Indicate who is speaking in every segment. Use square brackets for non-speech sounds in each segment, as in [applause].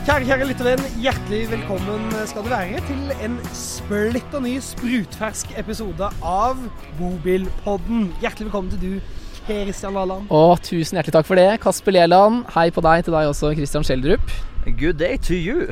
Speaker 1: Kjære, kjære lyttervenn, hjertelig velkommen skal du være til en splitter ny, sprutfersk episode av Bobilpodden. Hjertelig velkommen til du, Kristian Valand.
Speaker 2: Å, tusen hjertelig takk for det. Kasper Leland, hei på deg til deg også, Christian Schjelderup.
Speaker 3: Good day to you.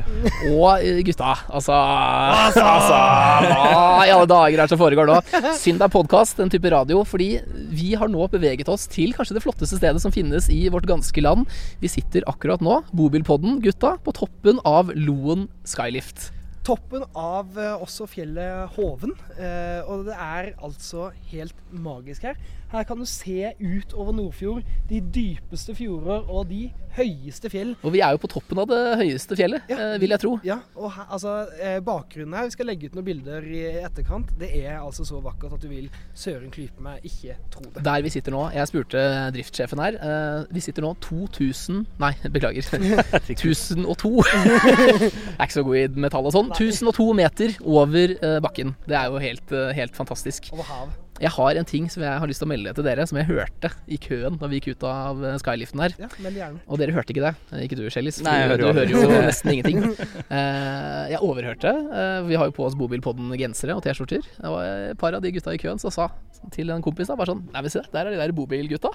Speaker 2: Og eh, gutta, altså Altså, hva i alle dager er det som foregår nå? Synd det er podkast, den type radio, fordi vi har nå beveget oss til kanskje det flotteste stedet som finnes i vårt ganske land. Vi sitter akkurat nå, bobilpodden, gutta, på toppen av Loen skylift.
Speaker 1: Toppen av eh, også fjellet Hoven. eh, Og det er altså helt magisk her. Her kan du se ut over Nordfjord, de dypeste fjorder og de høyeste fjell.
Speaker 2: Og vi er jo på toppen av det høyeste fjellet,
Speaker 1: Ja.
Speaker 2: eh, vil jeg tro.
Speaker 1: Ja, og her, altså, eh, bakgrunnen her, vi skal legge ut noen bilder i etterkant. Det er altså så vakkert at du vil søren klype meg ikke tro det.
Speaker 2: Der vi sitter nå, jeg spurte driftssjefen her, eh, vi sitter nå 2000 Nei, beklager. [laughs] 1002. [laughs] Jeg er ikke så god i med tall og sånn. 1002 meter over eh, bakken. Det er jo helt, eh, helt fantastisk.
Speaker 1: Over havet.
Speaker 2: Jeg har en ting som jeg har lyst til å melde til dere, som jeg hørte i køen da vi gikk ut av eh, skyliften her.
Speaker 1: Ja, men gjerne.
Speaker 2: Og dere hørte ikke det. Eh, Ikke du, Shellis.
Speaker 3: Nei, jeg
Speaker 2: du,
Speaker 3: hører
Speaker 2: du
Speaker 3: jo [laughs]
Speaker 2: hører jo nesten ingenting. Eh, jeg overhørte. eh, vi har jo på oss Bobilpodden-gensere og T-skjorter. Det var et par av de gutta i køen som sa til en kompis da, bare sånn Nei, men se, der er de der bobilgutta.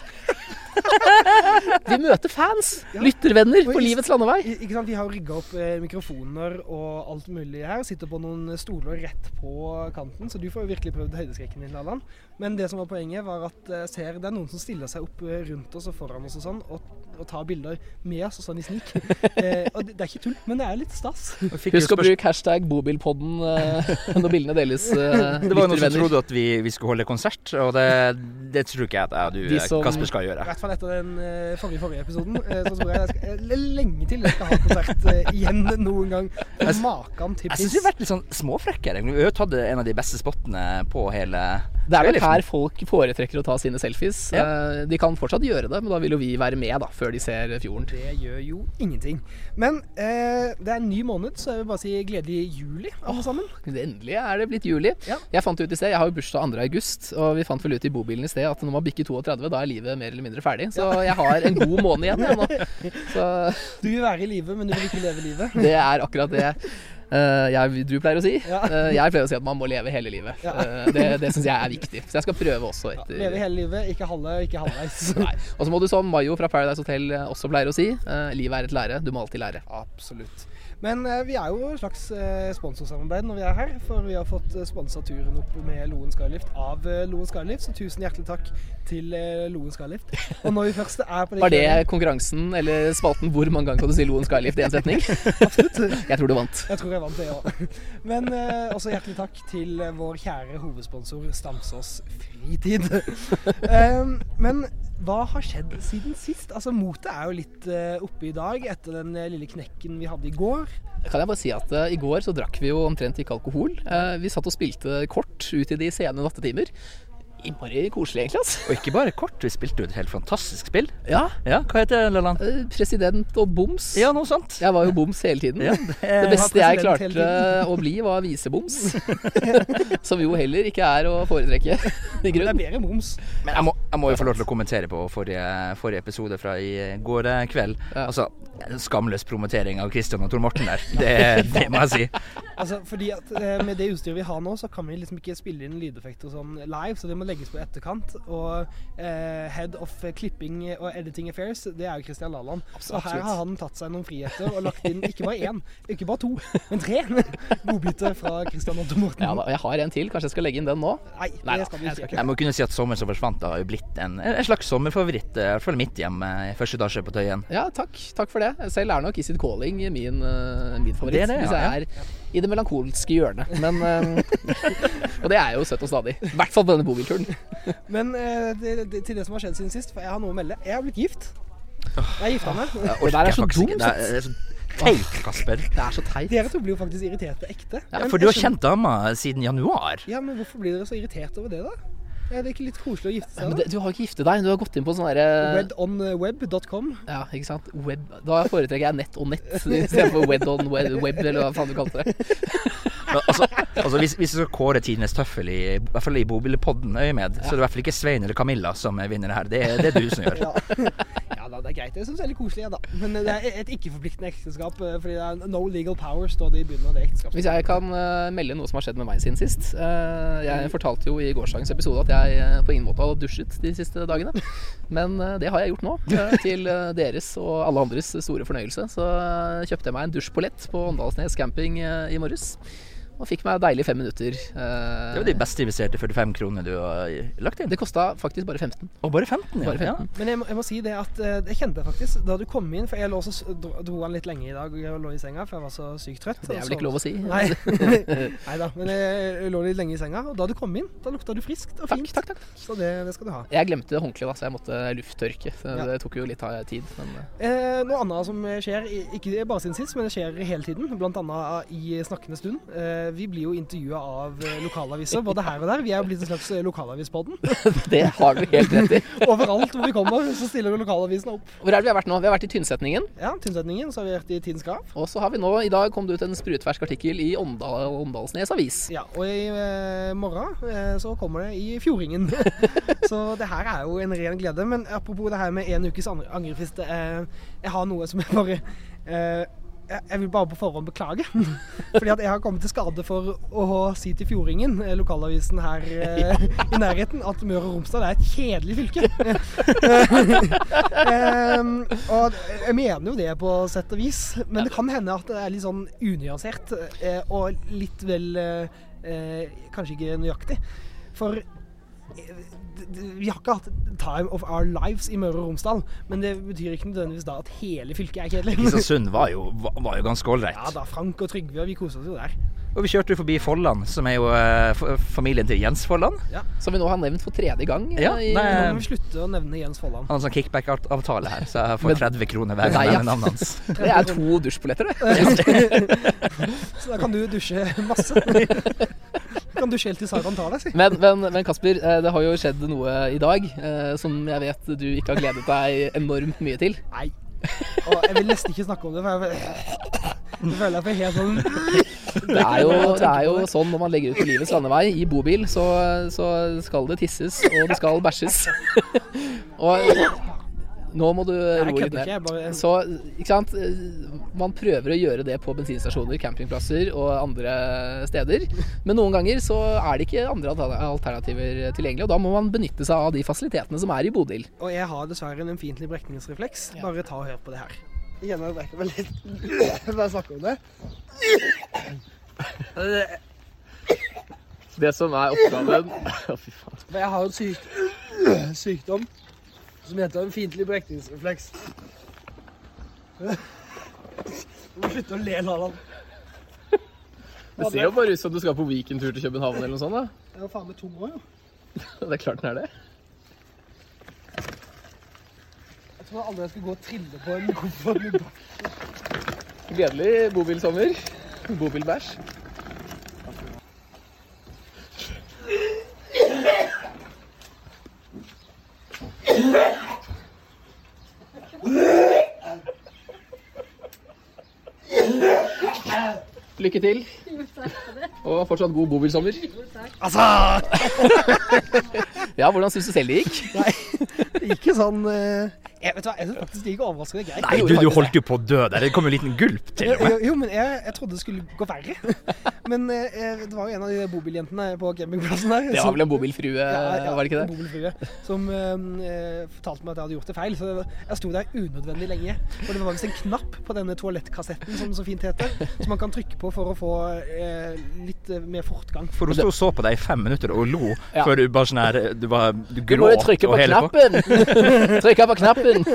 Speaker 2: [laughs] vi møter fans! Lyttervenner på livets landevei.
Speaker 1: I- Ikke sant, Vi har rigga opp eh, mikrofoner og alt mulig her. Sitter på noen stoler rett på kanten, så du får jo virkelig prøvd høydeskrekken din. Allan. Men det som var poenget, var at eh, ser det er noen som stiller seg opp eh, rundt oss og foran oss og sånn, og, og tar bilder med oss og sånn i snik.
Speaker 3: [laughs]
Speaker 1: Eh, og det, det er ikke tull, men det er litt stas.
Speaker 2: Husk å bruke hashtag bobilpodden eh, [laughs] når bildene deles. eh,
Speaker 3: [laughs] Det var jo noen som
Speaker 2: lyttervenner.
Speaker 3: trodde at vi, vi skulle holde konsert, og det, det tror ikke jeg at jeg og
Speaker 2: De
Speaker 3: du,
Speaker 2: som-
Speaker 3: Kasper, skal
Speaker 1: I
Speaker 3: gjøre.
Speaker 1: hvert fall etter den eh, forrige forrige episoden. eh, så tror jeg jeg skal, eh, l- lenge til jeg skal ha konsert eh, igjen noen gang.
Speaker 3: Jeg s-
Speaker 1: Makan til
Speaker 3: Jeg syns
Speaker 1: piss.
Speaker 3: vi har vært litt sånn småfrekke her. egentlig. Vi har jo tatt en av de beste spottene på hele
Speaker 2: Det er vel
Speaker 3: skyliften.
Speaker 2: her folk foretrekker å ta sine selfies. Eh, de kan fortsatt gjøre det, men da vil jo vi være med da, før de ser fjorden.
Speaker 1: Det gjør jo ingenting. Men eh, det er en ny måned, så jeg vil bare si gledelig juli, alle sammen.
Speaker 2: Endelig er det blitt juli.
Speaker 1: Ja.
Speaker 2: Jeg fant ut i sted, jeg har jo bursdag 2. august, og vi fant vel ut i bobilen i sted at når man bikker 32, da er livet mer eller mindre ferdig. Så jeg har en god måned igjen jeg, nå.
Speaker 1: [laughs]
Speaker 2: Så
Speaker 1: Du vil være i live, men du vil ikke leve [laughs] livet.
Speaker 2: det er akkurat det eh, jeg, du pleier å si.
Speaker 1: Ja.
Speaker 2: Eh, jeg pleier å si at man må leve hele livet.
Speaker 1: Ja.
Speaker 2: Eh, det det syns jeg er viktig. Så jeg skal prøve også etter
Speaker 1: Leve hele livet, ikke halve, ikke halvveis.
Speaker 2: Nei. Og så må du som Mayo fra Paradise Hotel eh, også pleier å si, eh, livet er et lære, du må alltid lære.
Speaker 1: [laughs] Absolutt. Men eh, vi er jo et slags eh, sponsorsamarbeid når vi er her, for vi har fått eh, sponsa turen opp med Loen Skylift av eh, Loen Skylift, så tusen hjertelig takk til eh, Loen Skylift. Og når vi først er [laughs] på det
Speaker 2: Var det konkurransen eller spalten hvor mange ganger kan du si Loen Skylift i én
Speaker 1: [laughs]
Speaker 2: setning?
Speaker 1: Absolutt.
Speaker 2: Jeg tror du vant.
Speaker 1: Jeg tror jeg vant det òg. Men eh, også hjertelig takk til eh, vår kjære hovedsponsor Stamsås Fritid. Em, men hva har skjedd siden sist? Altså Motet er jo litt eh, oppe i dag etter den eh, lille knekken vi hadde i går.
Speaker 2: Kan jeg bare si at eh, I går så drakk vi jo omtrent ikke alkohol. Eh, vi satt og spilte kort ut i de sene nattetimer. Innmari koselig, egentlig. ass.
Speaker 3: Og ikke bare kort, vi spilte jo et helt fantastisk spill.
Speaker 2: Ja.
Speaker 3: Ja, hva heter det, Lelland?
Speaker 2: eh, President og boms.
Speaker 3: Ja, noe sånt.
Speaker 2: Jeg var jo boms hele tiden.
Speaker 3: Ja,
Speaker 2: det,
Speaker 1: var
Speaker 2: beste jeg
Speaker 1: president hele
Speaker 2: klarte å bli, var viseboms. [laughs] Som jo heller ikke er å foretrekke, i
Speaker 1: Det er
Speaker 2: grunnen.
Speaker 1: bedre moms.
Speaker 3: Men jeg må, jeg må jo få lov til å kommentere på forrige, forrige episode fra i går eh, kveld.
Speaker 2: Ja.
Speaker 3: Altså, skamløs promotering av Christian og Tor Morten der. Det, det må jeg si.
Speaker 1: Altså fordi at eh, Med det utstyret vi har nå, så kan vi liksom ikke spille inn lydeffekter og sånn live, så det må legges på etterkant. Og eh, head of clipping og editing affairs, det er jo Christian Laland. Så her har han tatt seg noen friheter og lagt inn ikke bare én, ikke bare to, men tre [laughs] godbiter fra Christian Otto Morten.
Speaker 2: Ja, da, og jeg har en til. Kanskje jeg skal legge inn den nå?
Speaker 1: Nei,
Speaker 2: Nei da,
Speaker 1: det skal vi
Speaker 2: jeg skal
Speaker 1: ikke.
Speaker 2: ikke.
Speaker 3: Jeg må kunne si at Sommer som forsvant har jo blitt en, en slags sommerfavoritt. eh, I hvert fall i mitt hjem eh, i første etasje på Tøyen.
Speaker 2: Ja, takk. Takk for det. Selv er nok Is It Calling min, eh, min favoritt.
Speaker 3: Det er det,
Speaker 2: hvis
Speaker 3: ja,
Speaker 2: jeg er i det melankolske hjørnet. Men, eh, [laughs] og det er jo søtt og stadig. I hvert fall på denne bobilturen.
Speaker 1: Men eh, det, det, til det som har skjedd siden sist, for jeg har noe å melde. Jeg har blitt gift. Jeg gifta meg.
Speaker 3: Jeg
Speaker 2: Det der er
Speaker 3: orker
Speaker 2: så
Speaker 3: faktisk ikke.
Speaker 2: dumt.
Speaker 3: Det er, det er så teit, Kasper.
Speaker 2: Det er så teit.
Speaker 1: Dere to blir jo faktisk irritert på ekte. Men
Speaker 3: For du har
Speaker 1: jeg skjønner-
Speaker 3: kjent dama siden januar.
Speaker 1: Ja, men hvorfor blir dere så irritert over det, da? Er det ikke litt koselig å gifte
Speaker 2: Ja,
Speaker 1: seg?
Speaker 2: men
Speaker 1: da?
Speaker 2: det, du har jo ikke giftet deg. Du har gått inn på sånn
Speaker 1: Eh,
Speaker 2: derre
Speaker 1: Wedonweb.com.
Speaker 2: ja, ikke sant. Web. Da foretrekker jeg nett og nett istedenfor wed on web, web, eller hva faen du kalte det.
Speaker 3: Men altså, altså hvis, hvis du skal kåre tidenes tøffel, i, i hvert fall i bobilpodden Øyemed, så er det i hvert fall ikke Svein eller Camilla som vinner det her. Det, er- det er du som gjør.
Speaker 1: Ja. ja da, det er greit. Det syns jeg er litt koselig, jeg, da. Men eh, det er et ikke-forpliktende ekteskap, eh, fordi det er no legal power, står det i bunnen av det ekteskapet.
Speaker 2: Hvis jeg kan eh, melde noe som har skjedd med meg siden sist eh, Jeg fortalte jo i gårsdagens episode at jeg eh, på ingen måte har dusjet de siste dagene. Men eh, det har jeg gjort nå, eh, til eh, deres og alle andres store fornøyelse. Så eh, kjøpte jeg meg en dusjpolett på Åndalsnes camping eh, i morges. Og fikk meg deilig fem minutter. eh,
Speaker 3: Det var de best investerte 45 kronene du har lagt inn.
Speaker 2: det kosta faktisk bare 15.
Speaker 3: Og bare 15, ja.
Speaker 2: Bare 15.
Speaker 1: Men jeg må, jeg må si det at eh, jeg kjente det faktisk da du kom inn. For jeg lå også, s- dro, dro han litt lenge i dag og lå i senga, for jeg var så sykt trøtt.
Speaker 2: Det er vel ikke lov å si.
Speaker 1: [laughs] Nei Neida, men jeg lå litt lenge i senga, og da du kom inn, da lukta du friskt og
Speaker 2: Takk,
Speaker 1: fint.
Speaker 2: takk, takk.
Speaker 1: Så det, det skal du ha.
Speaker 2: Jeg glemte håndkleet, da, så jeg måtte lufttørke. Så
Speaker 1: Ja.
Speaker 2: Det tok jo litt av tid. Men eh,
Speaker 1: Eh, noe annet som skjer, i- ikke bare siden sist, men det skjer hele tiden, blant annet ah, i Snakkende stund. Eh, vi blir jo intervjua av eh, lokalaviser både her og der. Vi er jo blitt en slags eh, lokalavispodden.
Speaker 2: [laughs]
Speaker 1: [laughs]
Speaker 2: det har du helt rett i.
Speaker 1: Overalt hvor vi kommer, så stiller lokalavisene opp.
Speaker 2: Hvor er det vi har vært nå? Vi har vært i Tynnsetningen.
Speaker 1: Ja, Tynnsetningen, så har vi vært i Tidens Grav.
Speaker 2: Og så har vi nå, i dag kom det ut en sprutfersk artikkel i Åndal, Åndalsnes Avis.
Speaker 1: Ja, og i eh, morgen eh, så kommer det i Fjordingen. så det her er jo en ren glede. Men apropos det her med en ukes ang- angrefrist. Eh, jeg har noe som jeg bare eh, jeg jeg vil bare på forhånd beklage. Fordi at jeg har kommet til skade for å si til Fjordingen, eh, lokalavisen her eh, i nærheten, at Møre og Romsdal er et kjedelig fylke. Ehm, og jeg mener jo det på sett og vis, men det kan hende at det er litt sånn unyansert eh, og litt vel eh, eh, Kanskje ikke nøyaktig. For eh, d- d- vi har ikke hatt time of our lives i Møre og Romsdal, men det betyr ikke nødvendigvis da at hele fylket er kjedelig. [laughs]
Speaker 3: Kristiansund var jo, var- var jo ganske ålreit.
Speaker 1: Ja da, Frank og Trygve, og vi koser oss jo der.
Speaker 3: Og vi kjørte jo forbi Folland, som er jo eh, f- familien til Jens Folland.
Speaker 2: Som vi nå har nevnt for tredje gang. eh,
Speaker 3: Ja,
Speaker 2: i,
Speaker 1: Nå
Speaker 3: nei,
Speaker 1: må vi slutte å nevne Jens Folland.
Speaker 3: Han har sånn kickback-avtale her, så jeg får
Speaker 2: Men-
Speaker 3: 30 kroner hver gang
Speaker 2: Nei,
Speaker 3: jeg
Speaker 2: ja.
Speaker 3: nevner navnet hans.
Speaker 2: det er to dusjpoletter, det.
Speaker 1: Så da kan du dusje masse. [laughs] Du kan dusje helt til Saran tar deg, si.
Speaker 2: Men, men, men Kasper, eh, det har jo skjedd noe i dag eh, som jeg vet du ikke har gledet deg enormt mye til.
Speaker 1: Nei. Og jeg vil nesten ikke snakke om det, for jeg, jeg føler jeg får helt sånn
Speaker 2: Det er jo, det er jo sånn når man legger ut på livets landevei i bobil, så, så skal det tisses, og det skal
Speaker 1: [laughs]
Speaker 2: bæsjes. Og nå må du
Speaker 1: Jeg
Speaker 2: roe litt
Speaker 1: kødder ikke,
Speaker 2: ned.
Speaker 1: jeg bare
Speaker 2: Så, ikke sant Man prøver å gjøre det på bensinstasjoner, campingplasser og andre steder. Men noen ganger så er det ikke andre alter- alternativer tilgjengelig, og da må man benytte seg av de fasilitetene som er i Bodil.
Speaker 1: Og jeg har dessverre en ømfintlig brekningsrefleks. Bare ta og hør på det her. Jeg kjenner jeg brekker meg litt bare snakke om det.
Speaker 2: Det som er [laughs] oppgaven
Speaker 1: For jeg har en syk, sykdom som heter ømfintlig brekningsrefleks. Du må slutte å le, Lalan.
Speaker 2: Det ser jo bare ut som du skal på weekendtur til København eller noe sånt. da.
Speaker 1: Jeg var faen meg tom òg, jo.
Speaker 2: Det er klart den er det.
Speaker 1: Jeg trodde aldri jeg skulle gå og trille på en koffert.
Speaker 2: Gledelig bobilsommer. Bobilbæsj. Lykke til. Og fortsatt god bobilsommer.
Speaker 1: Altså!
Speaker 2: Ja, hvordan syns du selv det gikk?
Speaker 1: Ikke sånn eh, jeg, Vet du hva, jeg syns faktisk det gikk overraskende greit.
Speaker 3: Nei, du, du holdt jo på å dø der. Det kom jo en liten gulp til.
Speaker 1: Jo, jo, men jeg, jeg trodde det skulle gå verre. Men eh, det var jo en av de bobiljentene på campingplassen der.
Speaker 2: Det
Speaker 1: som-
Speaker 2: var vel en bobilfrue, var det ikke det?
Speaker 1: Bobilfrue. Som eh, fortalte meg at jeg hadde gjort det feil. Så jeg sto der unødvendig lenge. For det var visst en knapp på denne toalettkassetten, som det så fint heter, som man kan trykke på for å få eh, litt eh, mer fortgang.
Speaker 3: For hun sto og så på deg i fem minutter og lo
Speaker 2: Ja.
Speaker 3: før du bare sånn her Du, var, du
Speaker 2: Du må jo
Speaker 3: gråt
Speaker 2: trykke
Speaker 3: og
Speaker 2: på
Speaker 3: hele på.
Speaker 2: knappen! [laughs] Trykke på knappen!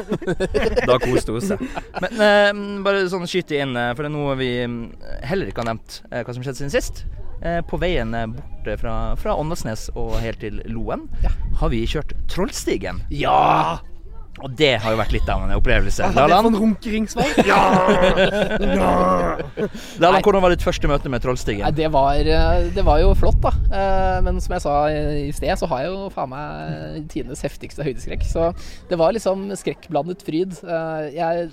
Speaker 3: Da koste hun seg. Men eh, bare sånn skyte inn, eh, for det er noe vi eh, heller ikke har nevnt eh, hva som skjedde siden sist. Eh, på veien eh, bort eh, fra, fra Åndalsnes og helt til Loen har vi kjørt Trollstigen.
Speaker 2: Ja!
Speaker 3: Og det har jo vært litt av en
Speaker 2: Ah,
Speaker 3: opplevelse.
Speaker 1: Det er
Speaker 3: Lalan,
Speaker 1: en
Speaker 2: [laughs]
Speaker 1: runkeringsvei.
Speaker 3: Lalan hvordan var ditt første møte med
Speaker 2: Nei,
Speaker 3: Trollstigen?
Speaker 2: det var, eh, det var jo flott, da. Eh, Men som jeg sa eh, i sted, så har jeg jo faen meg tidenes heftigste høydeskrekk. Så det var liksom skrekkblandet fryd. Eh, Jeg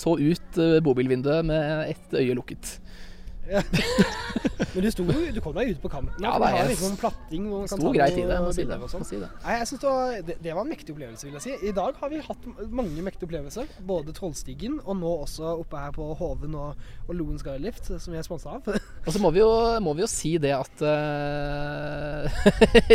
Speaker 2: så ut eh, bobilvinduet med ett øye lukket.
Speaker 1: Men du, sto, jo- du kom deg ut på kanten. Ja,
Speaker 2: Ja, da,
Speaker 1: det er
Speaker 2: jeg
Speaker 1: liksom platting hvor man kan
Speaker 2: Sto
Speaker 1: ta
Speaker 2: greit i
Speaker 1: noe
Speaker 2: det, jeg må si det.
Speaker 1: bilder og
Speaker 2: jeg
Speaker 1: sånn.
Speaker 2: Må si det.
Speaker 1: Nei, jeg synes det, var, det, det var en mektig opplevelse, vil jeg si. I dag har vi hatt m- mange mektige opplevelser. Både Trollstigen og nå også oppe her på Hoven og, og Loen Skylift, som vi er sponsa av. [laughs]
Speaker 2: Og så må vi jo, må vi jo si det at eh, [laughs]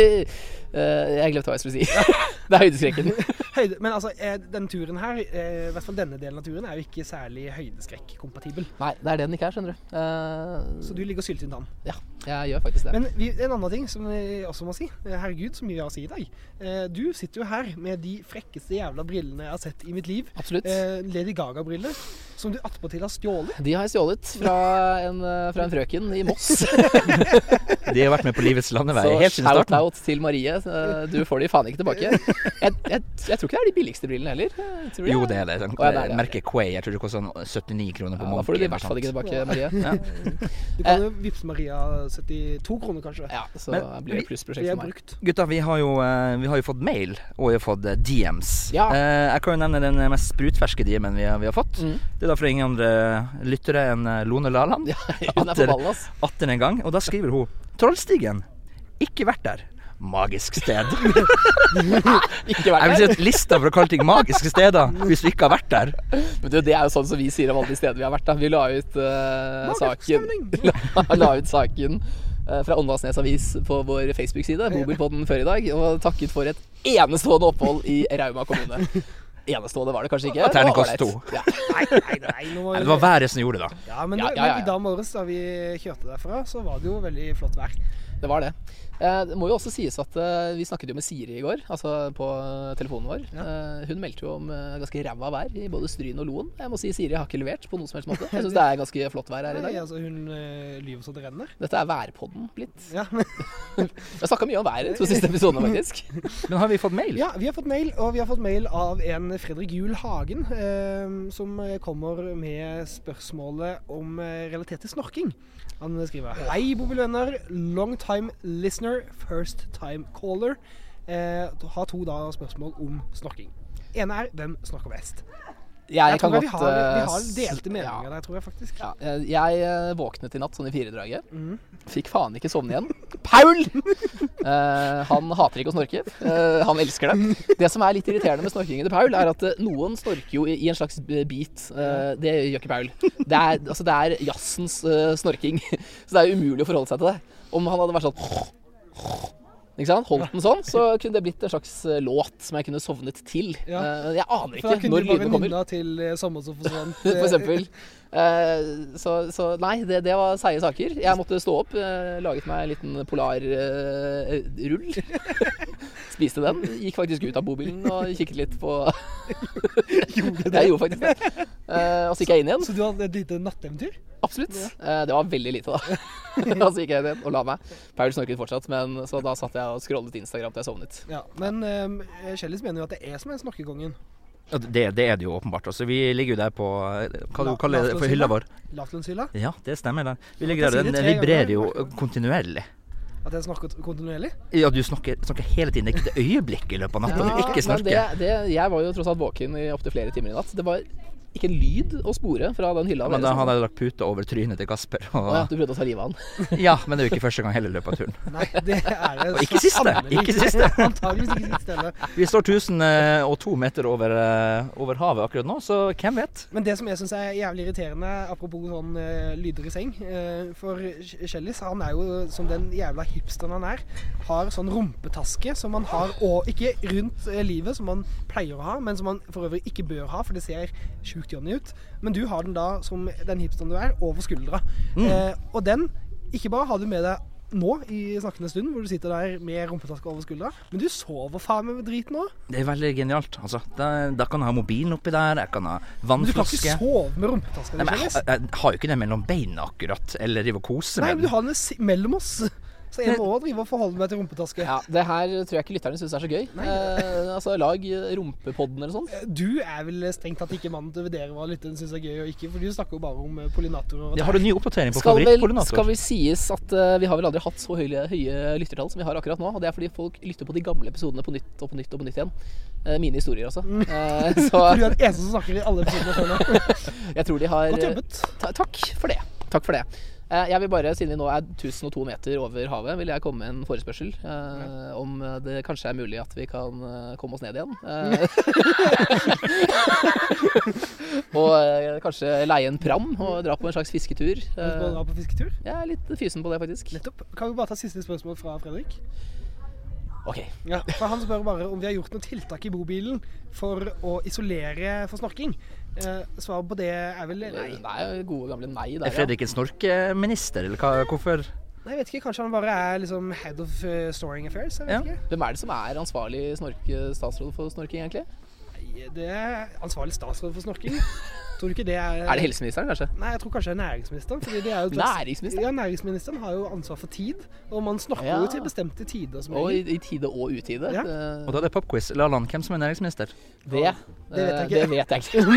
Speaker 2: eh, Jeg glemte hva jeg skulle si. [laughs] det er høydeskrekken.
Speaker 1: [laughs] Høyde, men altså, eh, denne turen her, eh, i hvert fall denne delen av turen, er jo ikke særlig høydeskrekk-kompatibel.
Speaker 2: Nei, det er det den ikke er, skjønner du. Eh,
Speaker 1: Så du ligger og sylter inn tann.
Speaker 2: Ja, jeg gjør faktisk det.
Speaker 1: Men vi, en annen ting som vi også må si. eh, Herregud, så mye vi har å si i dag. Eh, Du sitter jo her med de frekkeste jævla brillene jeg har sett i mitt liv.
Speaker 2: Absolutt.
Speaker 1: Eh, Lady Gaga-briller, som du attpåtil har stjålet.
Speaker 2: De har jeg stjålet fra en, eh, fra en frøken i
Speaker 3: [laughs]
Speaker 2: Moss.
Speaker 3: De har vært med på livets landevei helt
Speaker 2: Så
Speaker 3: siden starten.
Speaker 2: shout-out til Marie. eh, Du får de faen ikke tilbake. Jeg, jeg, jeg tror ikke det er de billigste brillene heller. Jeg tror
Speaker 3: Jo, det er det. Sånn,
Speaker 2: Å, ja, det er det,
Speaker 3: merket Quay. Jeg tror det koster sånn 79 kroner på
Speaker 2: Ja, da får du de i
Speaker 3: eller
Speaker 2: hvert fall ikke
Speaker 3: sånt.
Speaker 2: tilbake, Marie.
Speaker 1: Du kan jo vippse Maria 72 kroner, kanskje.
Speaker 2: Ja, så
Speaker 3: Men
Speaker 2: blir det
Speaker 3: vi-
Speaker 2: plussprosjekt
Speaker 1: Det er
Speaker 2: for meg.
Speaker 1: brukt.
Speaker 3: Gutta, vi har, jo, eh, vi har jo fått mail, og vi har fått eh, DMs.
Speaker 2: Ja.
Speaker 3: Eh, jeg kan jo nevne den mest sprutferske DM-en vi, har- vi har fått.
Speaker 2: Mm.
Speaker 3: Det er da fra ingen andre lyttere enn eh, Lone Laland.
Speaker 2: Ja, [laughs] hun er
Speaker 3: Atter-
Speaker 2: forbanna, ass.
Speaker 3: Atter en gang. Og da skriver hun Trollstigen. Ikke vært der. Magisk
Speaker 2: [laughs]
Speaker 3: sted.
Speaker 2: Ikke
Speaker 3: Jeg vil
Speaker 2: vært
Speaker 3: si
Speaker 2: der.
Speaker 3: at lista for å kalle ting magiske steder, hvis du ikke har vært der
Speaker 2: Men du, det er jo sånn som vi sier om alle de stedene vi har vært. Da. Vi la ut eh,
Speaker 1: Magisk
Speaker 2: saken
Speaker 1: stemning.
Speaker 2: [laughs] la, la ut saken eh, fra Åndalsnes Avis på vår Facebook-side, Bobilpodden før i dag, og takket for et enestående opphold i Rauma kommune. Enestående var det kanskje ikke.
Speaker 3: Ja, terningkast
Speaker 2: det var ålreit. Ja.
Speaker 1: Nei, nei, nei, nå må
Speaker 3: Nei, Det var været som gjorde det, da.
Speaker 1: Ja, men,
Speaker 2: Ja,
Speaker 1: det-
Speaker 2: ja, ja,
Speaker 1: men
Speaker 2: ja.
Speaker 1: i dag morges da vi kjørte derfra, så var det jo veldig flott vær.
Speaker 2: Det var det. Eh, Det må jo også sies at eh, vi snakket jo med Siri i går, altså på eh, telefonen vår. Eh, Hun meldte jo om eh, ganske ræva vær i både Stryn og Loen. Jeg må si Siri har ikke levert på noen som helst måte. Jeg syns det er ganske flott vær her i
Speaker 1: Nei,
Speaker 2: dag.
Speaker 1: altså, hun øh, lyver så det renner.
Speaker 2: Dette er værpodden blitt.
Speaker 1: Ja.
Speaker 2: Vi har snakka mye om været de to siste episodene, faktisk.
Speaker 3: Men har vi fått mail?
Speaker 1: [laughs] ja, vi har fått mail, og vi har fått mail av en Fredrik Juel Hagen, eh, som kommer med spørsmålet om eh, relatert til snorking. Han skriver Hei, bobilvenner. Long time listener, first time caller. Eh, har to da spørsmål om snorking. Ene er hvem snorker best?
Speaker 2: Jeg,
Speaker 1: Jeg
Speaker 2: kan
Speaker 1: tror vi
Speaker 2: godt,
Speaker 1: har, vi
Speaker 2: eh,
Speaker 1: har
Speaker 2: s-
Speaker 1: delte meninger
Speaker 2: ja.
Speaker 1: der, tror jeg faktisk.
Speaker 2: Ja, eh, jeg eh, våknet i natt sånn i firedraget.
Speaker 1: Mm.
Speaker 2: Fikk faen ikke sovne igjen.
Speaker 1: [laughs]
Speaker 2: Paul! Eh, han hater ikke å snorke. Eh, han elsker det. Det som er litt irriterende med snorkingen til Paul, er at eh, noen snorker jo i, i en slags b- bit. Eh, det gjør ikke Paul. Det er, altså, det er jazzens eh, snorking, [laughs] så det er umulig å forholde seg til det. Om han hadde vært sånn ikke sant? Holdt den sånn, så kunne det blitt en slags eh, låt som jeg kunne sovnet til.
Speaker 1: Ja.
Speaker 2: Eh, jeg aner
Speaker 1: For da
Speaker 2: ikke
Speaker 1: kunne
Speaker 2: når
Speaker 1: du bare
Speaker 2: lydene kommer.
Speaker 1: nynna til eh, Sommer som
Speaker 2: [laughs]
Speaker 1: forsvant.
Speaker 2: For
Speaker 1: eh,
Speaker 2: eksempel. Eh, så, så nei, det, det var seige saker. Jeg måtte stå opp, eh, laget meg en liten polarrull. [laughs] Spiste den. Gikk faktisk ut av bobilen og kikket litt
Speaker 3: [laughs]
Speaker 2: på [laughs] Jeg gjorde faktisk det. Eh, og så gikk jeg inn igjen.
Speaker 1: Så du hadde et lite natteventyr?
Speaker 2: Absolutt. Eh, det var veldig lite,
Speaker 3: [laughs]
Speaker 2: da. [laughs] og så gikk jeg inn igjen og la meg. Paul snorket fortsatt, men så da satt jeg og scrollet Instagram til jeg sovnet.
Speaker 1: Ja. Men um, Kjellis mener jo at det er som en snorkekongen.
Speaker 3: Ja, Det, det er det jo åpenbart. Altså, vi ligger jo der på eh, Hva
Speaker 1: La-
Speaker 3: du kaller det for hylla vår?
Speaker 1: Lavtlønnshylla.
Speaker 3: Ja, det stemmer. Den. Vi
Speaker 1: Jeg
Speaker 3: ligger
Speaker 1: sier
Speaker 3: der,
Speaker 1: det
Speaker 3: den
Speaker 1: tre
Speaker 3: vibrerer jo
Speaker 1: ganger.
Speaker 3: kontinuerlig.
Speaker 1: At jeg snorker kontinuerlig.
Speaker 3: Ja, du snakker, snakker hele tiden. Det er ikke et øyeblikk i løpet av natta du ikke
Speaker 2: men det,
Speaker 3: snorker.
Speaker 2: det, jeg var jo tross alt våken i opptil flere timer i natt. Det var ikke en lyd å spore fra den hylla. dere
Speaker 3: Men da
Speaker 2: snakket om.
Speaker 3: hadde jeg lagt puta over trynet til Kasper.
Speaker 2: Å ja,
Speaker 3: Og,
Speaker 2: du prøvde å ta livet av han.
Speaker 3: [laughs] ja, men det er jo ikke første gang heller i løpet av turen.
Speaker 1: Nei, det er det
Speaker 3: Og ikke siste!
Speaker 1: sannelig
Speaker 3: Ikke siste.
Speaker 1: [laughs] Antageligvis ikke siste heller.
Speaker 3: Vi står 1002 meter over, eh, over havet akkurat nå, så hvem vet?
Speaker 1: Men det som jeg syns er jævlig irriterende, apropos sånn eh, lyder i seng eh, For Kj- Kjellis, han er jo som den jævla hipsteren han er, har sånn rumpetaske som han har og Ikke rundt eh, livet, som han pleier å ha, men som han for øvrig ikke bør ha, for det ser sjukt Johnny ut. Men du har den da, som den hipsteren du er, over skuldra.
Speaker 3: Mm.
Speaker 1: Eh, og den, ikke bare har du med deg nå i snakkende stund, hvor du sitter der med rumpetaske over skuldra, men du sover faen meg med driten òg.
Speaker 3: Det er veldig genialt. Altså, da, da kan jeg ha mobilen oppi der, jeg kan ha
Speaker 1: Men du kan ikke
Speaker 3: vannflaske
Speaker 1: sove med rumpetaska
Speaker 3: Nei,
Speaker 1: di,
Speaker 3: men jeg,
Speaker 1: Kjellis.
Speaker 3: jeg, jeg har jo ikke den mellom beina akkurat, eller driver og koser
Speaker 1: Nei,
Speaker 3: med
Speaker 1: men du
Speaker 3: den.
Speaker 1: har den si- mellom oss. Så jeg
Speaker 3: Men-
Speaker 1: må også drive og forholde meg til rumpetaske.
Speaker 2: [laughs] Ja, det her tror jeg ikke lytterne syns er så gøy. Eh, altså, lag eh, Rumpepodden eller sånn.
Speaker 1: Du er vel strengt tatt ikke mannen til å vurdere hva lytteren syns er gøy og ikke, for du snakker jo bare om eh, pollinatorer. og
Speaker 3: Jeg har en ny oppdatering på
Speaker 2: Skal vel,
Speaker 3: favorittkoordinator.
Speaker 2: skal vel sies at eh, vi har vel aldri hatt så høye, høye lyttertall som vi har akkurat nå. Og det er fordi folk lytter på de gamle episodene på nytt og på nytt og på nytt igjen. Eh, mine historier også. Eh, så
Speaker 1: For Mm. [laughs] du er den eneste som snakker i alle episodene før nå.
Speaker 2: jeg tror de har
Speaker 1: Godt jobbet.
Speaker 2: Ta, takk for det. Takk for det. Eh, Jeg vil bare, siden vi nå er 1002 meter over havet, vil jeg komme med en forespørsel eh, om eh, det kanskje er mulig at vi kan eh, komme oss ned igjen. Eh, [laughs] og eh, kanskje leie en pram og dra på en slags
Speaker 1: Har du
Speaker 2: fisketur.
Speaker 1: lyst på å
Speaker 2: Eh,
Speaker 1: dra på fisketur?
Speaker 2: Jeg er litt fysen på det, faktisk.
Speaker 1: Nettopp. Kan vi bare ta siste spørsmål fra Fredrik?
Speaker 2: Ok.
Speaker 1: Ja, for Han spør bare om vi har gjort noen tiltak i bobilen for å isolere for snorking. Eh, svaret på det er vel nei.
Speaker 2: Nei, gode gamle nei der,
Speaker 3: Er Eh, Fredrik en snorkeminister, eller hva, hvorfor?
Speaker 1: Nei, Jeg vet ikke, Kanskje han bare er liksom head of eh, storing affairs? Jeg vet
Speaker 3: Ja.
Speaker 1: ikke.
Speaker 2: ja. Hvem er det som er ansvarlig snorke, statsråd for snorking, egentlig?
Speaker 1: Nei, Det er ansvarlig statsråd for snorking. Tror du ikke det er
Speaker 2: Er det helseministeren, kanskje?
Speaker 1: Nei, jeg tror kanskje det er næringsministeren. Fordi det er jo et slags-
Speaker 2: Næringsministeren?
Speaker 1: Ja, næringsministeren har jo ansvar for tid, og man snakker
Speaker 2: Ja.
Speaker 1: jo til bestemte tider. Som
Speaker 2: Og i,
Speaker 1: regel.
Speaker 2: i tide og utide. Eh,
Speaker 1: Ja.
Speaker 3: Og
Speaker 2: Det,
Speaker 3: da er det popquiz. Laland, hvem som er næringsminister?
Speaker 2: det,
Speaker 1: Det vet jeg
Speaker 2: eh,
Speaker 1: ikke.
Speaker 2: det vet jeg ikke. [laughs]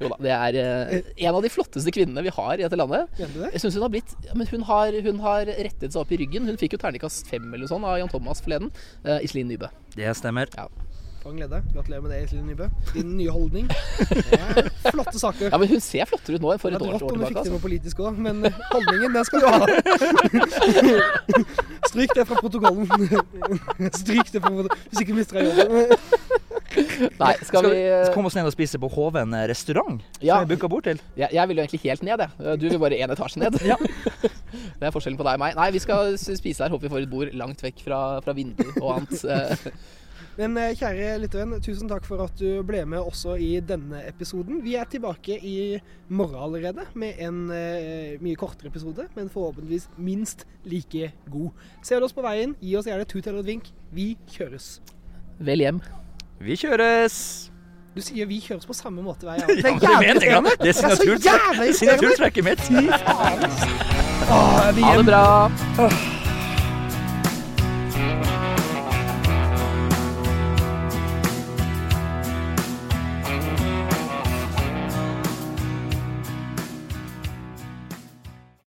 Speaker 2: jo da, det er eh, en av de flotteste kvinnene vi har i dette landet.
Speaker 1: Mener du det?
Speaker 2: Jeg synes hun har blitt ja, Men hun har, hun har rettet seg opp i ryggen. Hun fikk jo terningkast fem eller sånn av Jan Thomas forleden. Eh, Iselin Nybø.
Speaker 3: Det stemmer.
Speaker 1: For en glede. Gratulerer med det, Iselin Nybø. Din nye
Speaker 2: [laughs]
Speaker 1: holdning. Ja, flotte saker.
Speaker 2: Ja, men hun ser flottere ut nå enn for
Speaker 1: Det
Speaker 2: et
Speaker 1: hadde
Speaker 2: år,
Speaker 1: rått
Speaker 2: år
Speaker 1: om du fikk
Speaker 2: tilbake.
Speaker 1: til
Speaker 2: Altså.
Speaker 1: noe politisk òg, men eh, holdningen, den skal du ha. [laughs] Stryk det fra protokollen. [laughs] Stryk det fra protokollen, hvis ikke mister jeg jobben.
Speaker 2: Nei, skal vi eh,
Speaker 3: komme oss ned og spise på Hoven restaurant?
Speaker 2: Ja.
Speaker 3: Som vi booka bord til?
Speaker 2: jeg, jeg vil jo egentlig helt ned, jeg. Eh, Du vil bare én etasje ned.
Speaker 3: Ja.
Speaker 2: [laughs] Det er forskjellen på deg og meg. Nei, vi skal s- spise her. Håper vi får et bord langt vekk fra, fra vinduer og annet. Eh,
Speaker 1: Men eh, kjære lyttervenn, tusen takk for at du ble med også i denne episoden. Vi er tilbake i morgen allerede med en eh, mye kortere episode, men forhåpentligvis minst like god. Ser du oss på veien, gi oss gjerne et tut eller et vink. Vi kjøres.
Speaker 2: Vel hjem.
Speaker 3: Vi kjøres!
Speaker 1: Du sier vi kjøres på samme måte hver gang.
Speaker 3: [laughs] Ja, men det mener jeg. Det er
Speaker 1: Det er så
Speaker 3: signaturtre-
Speaker 1: jævla irriterende!
Speaker 3: signaturtrekket mitt.
Speaker 1: Åh, vi
Speaker 2: Ha det bra.
Speaker 1: Åh.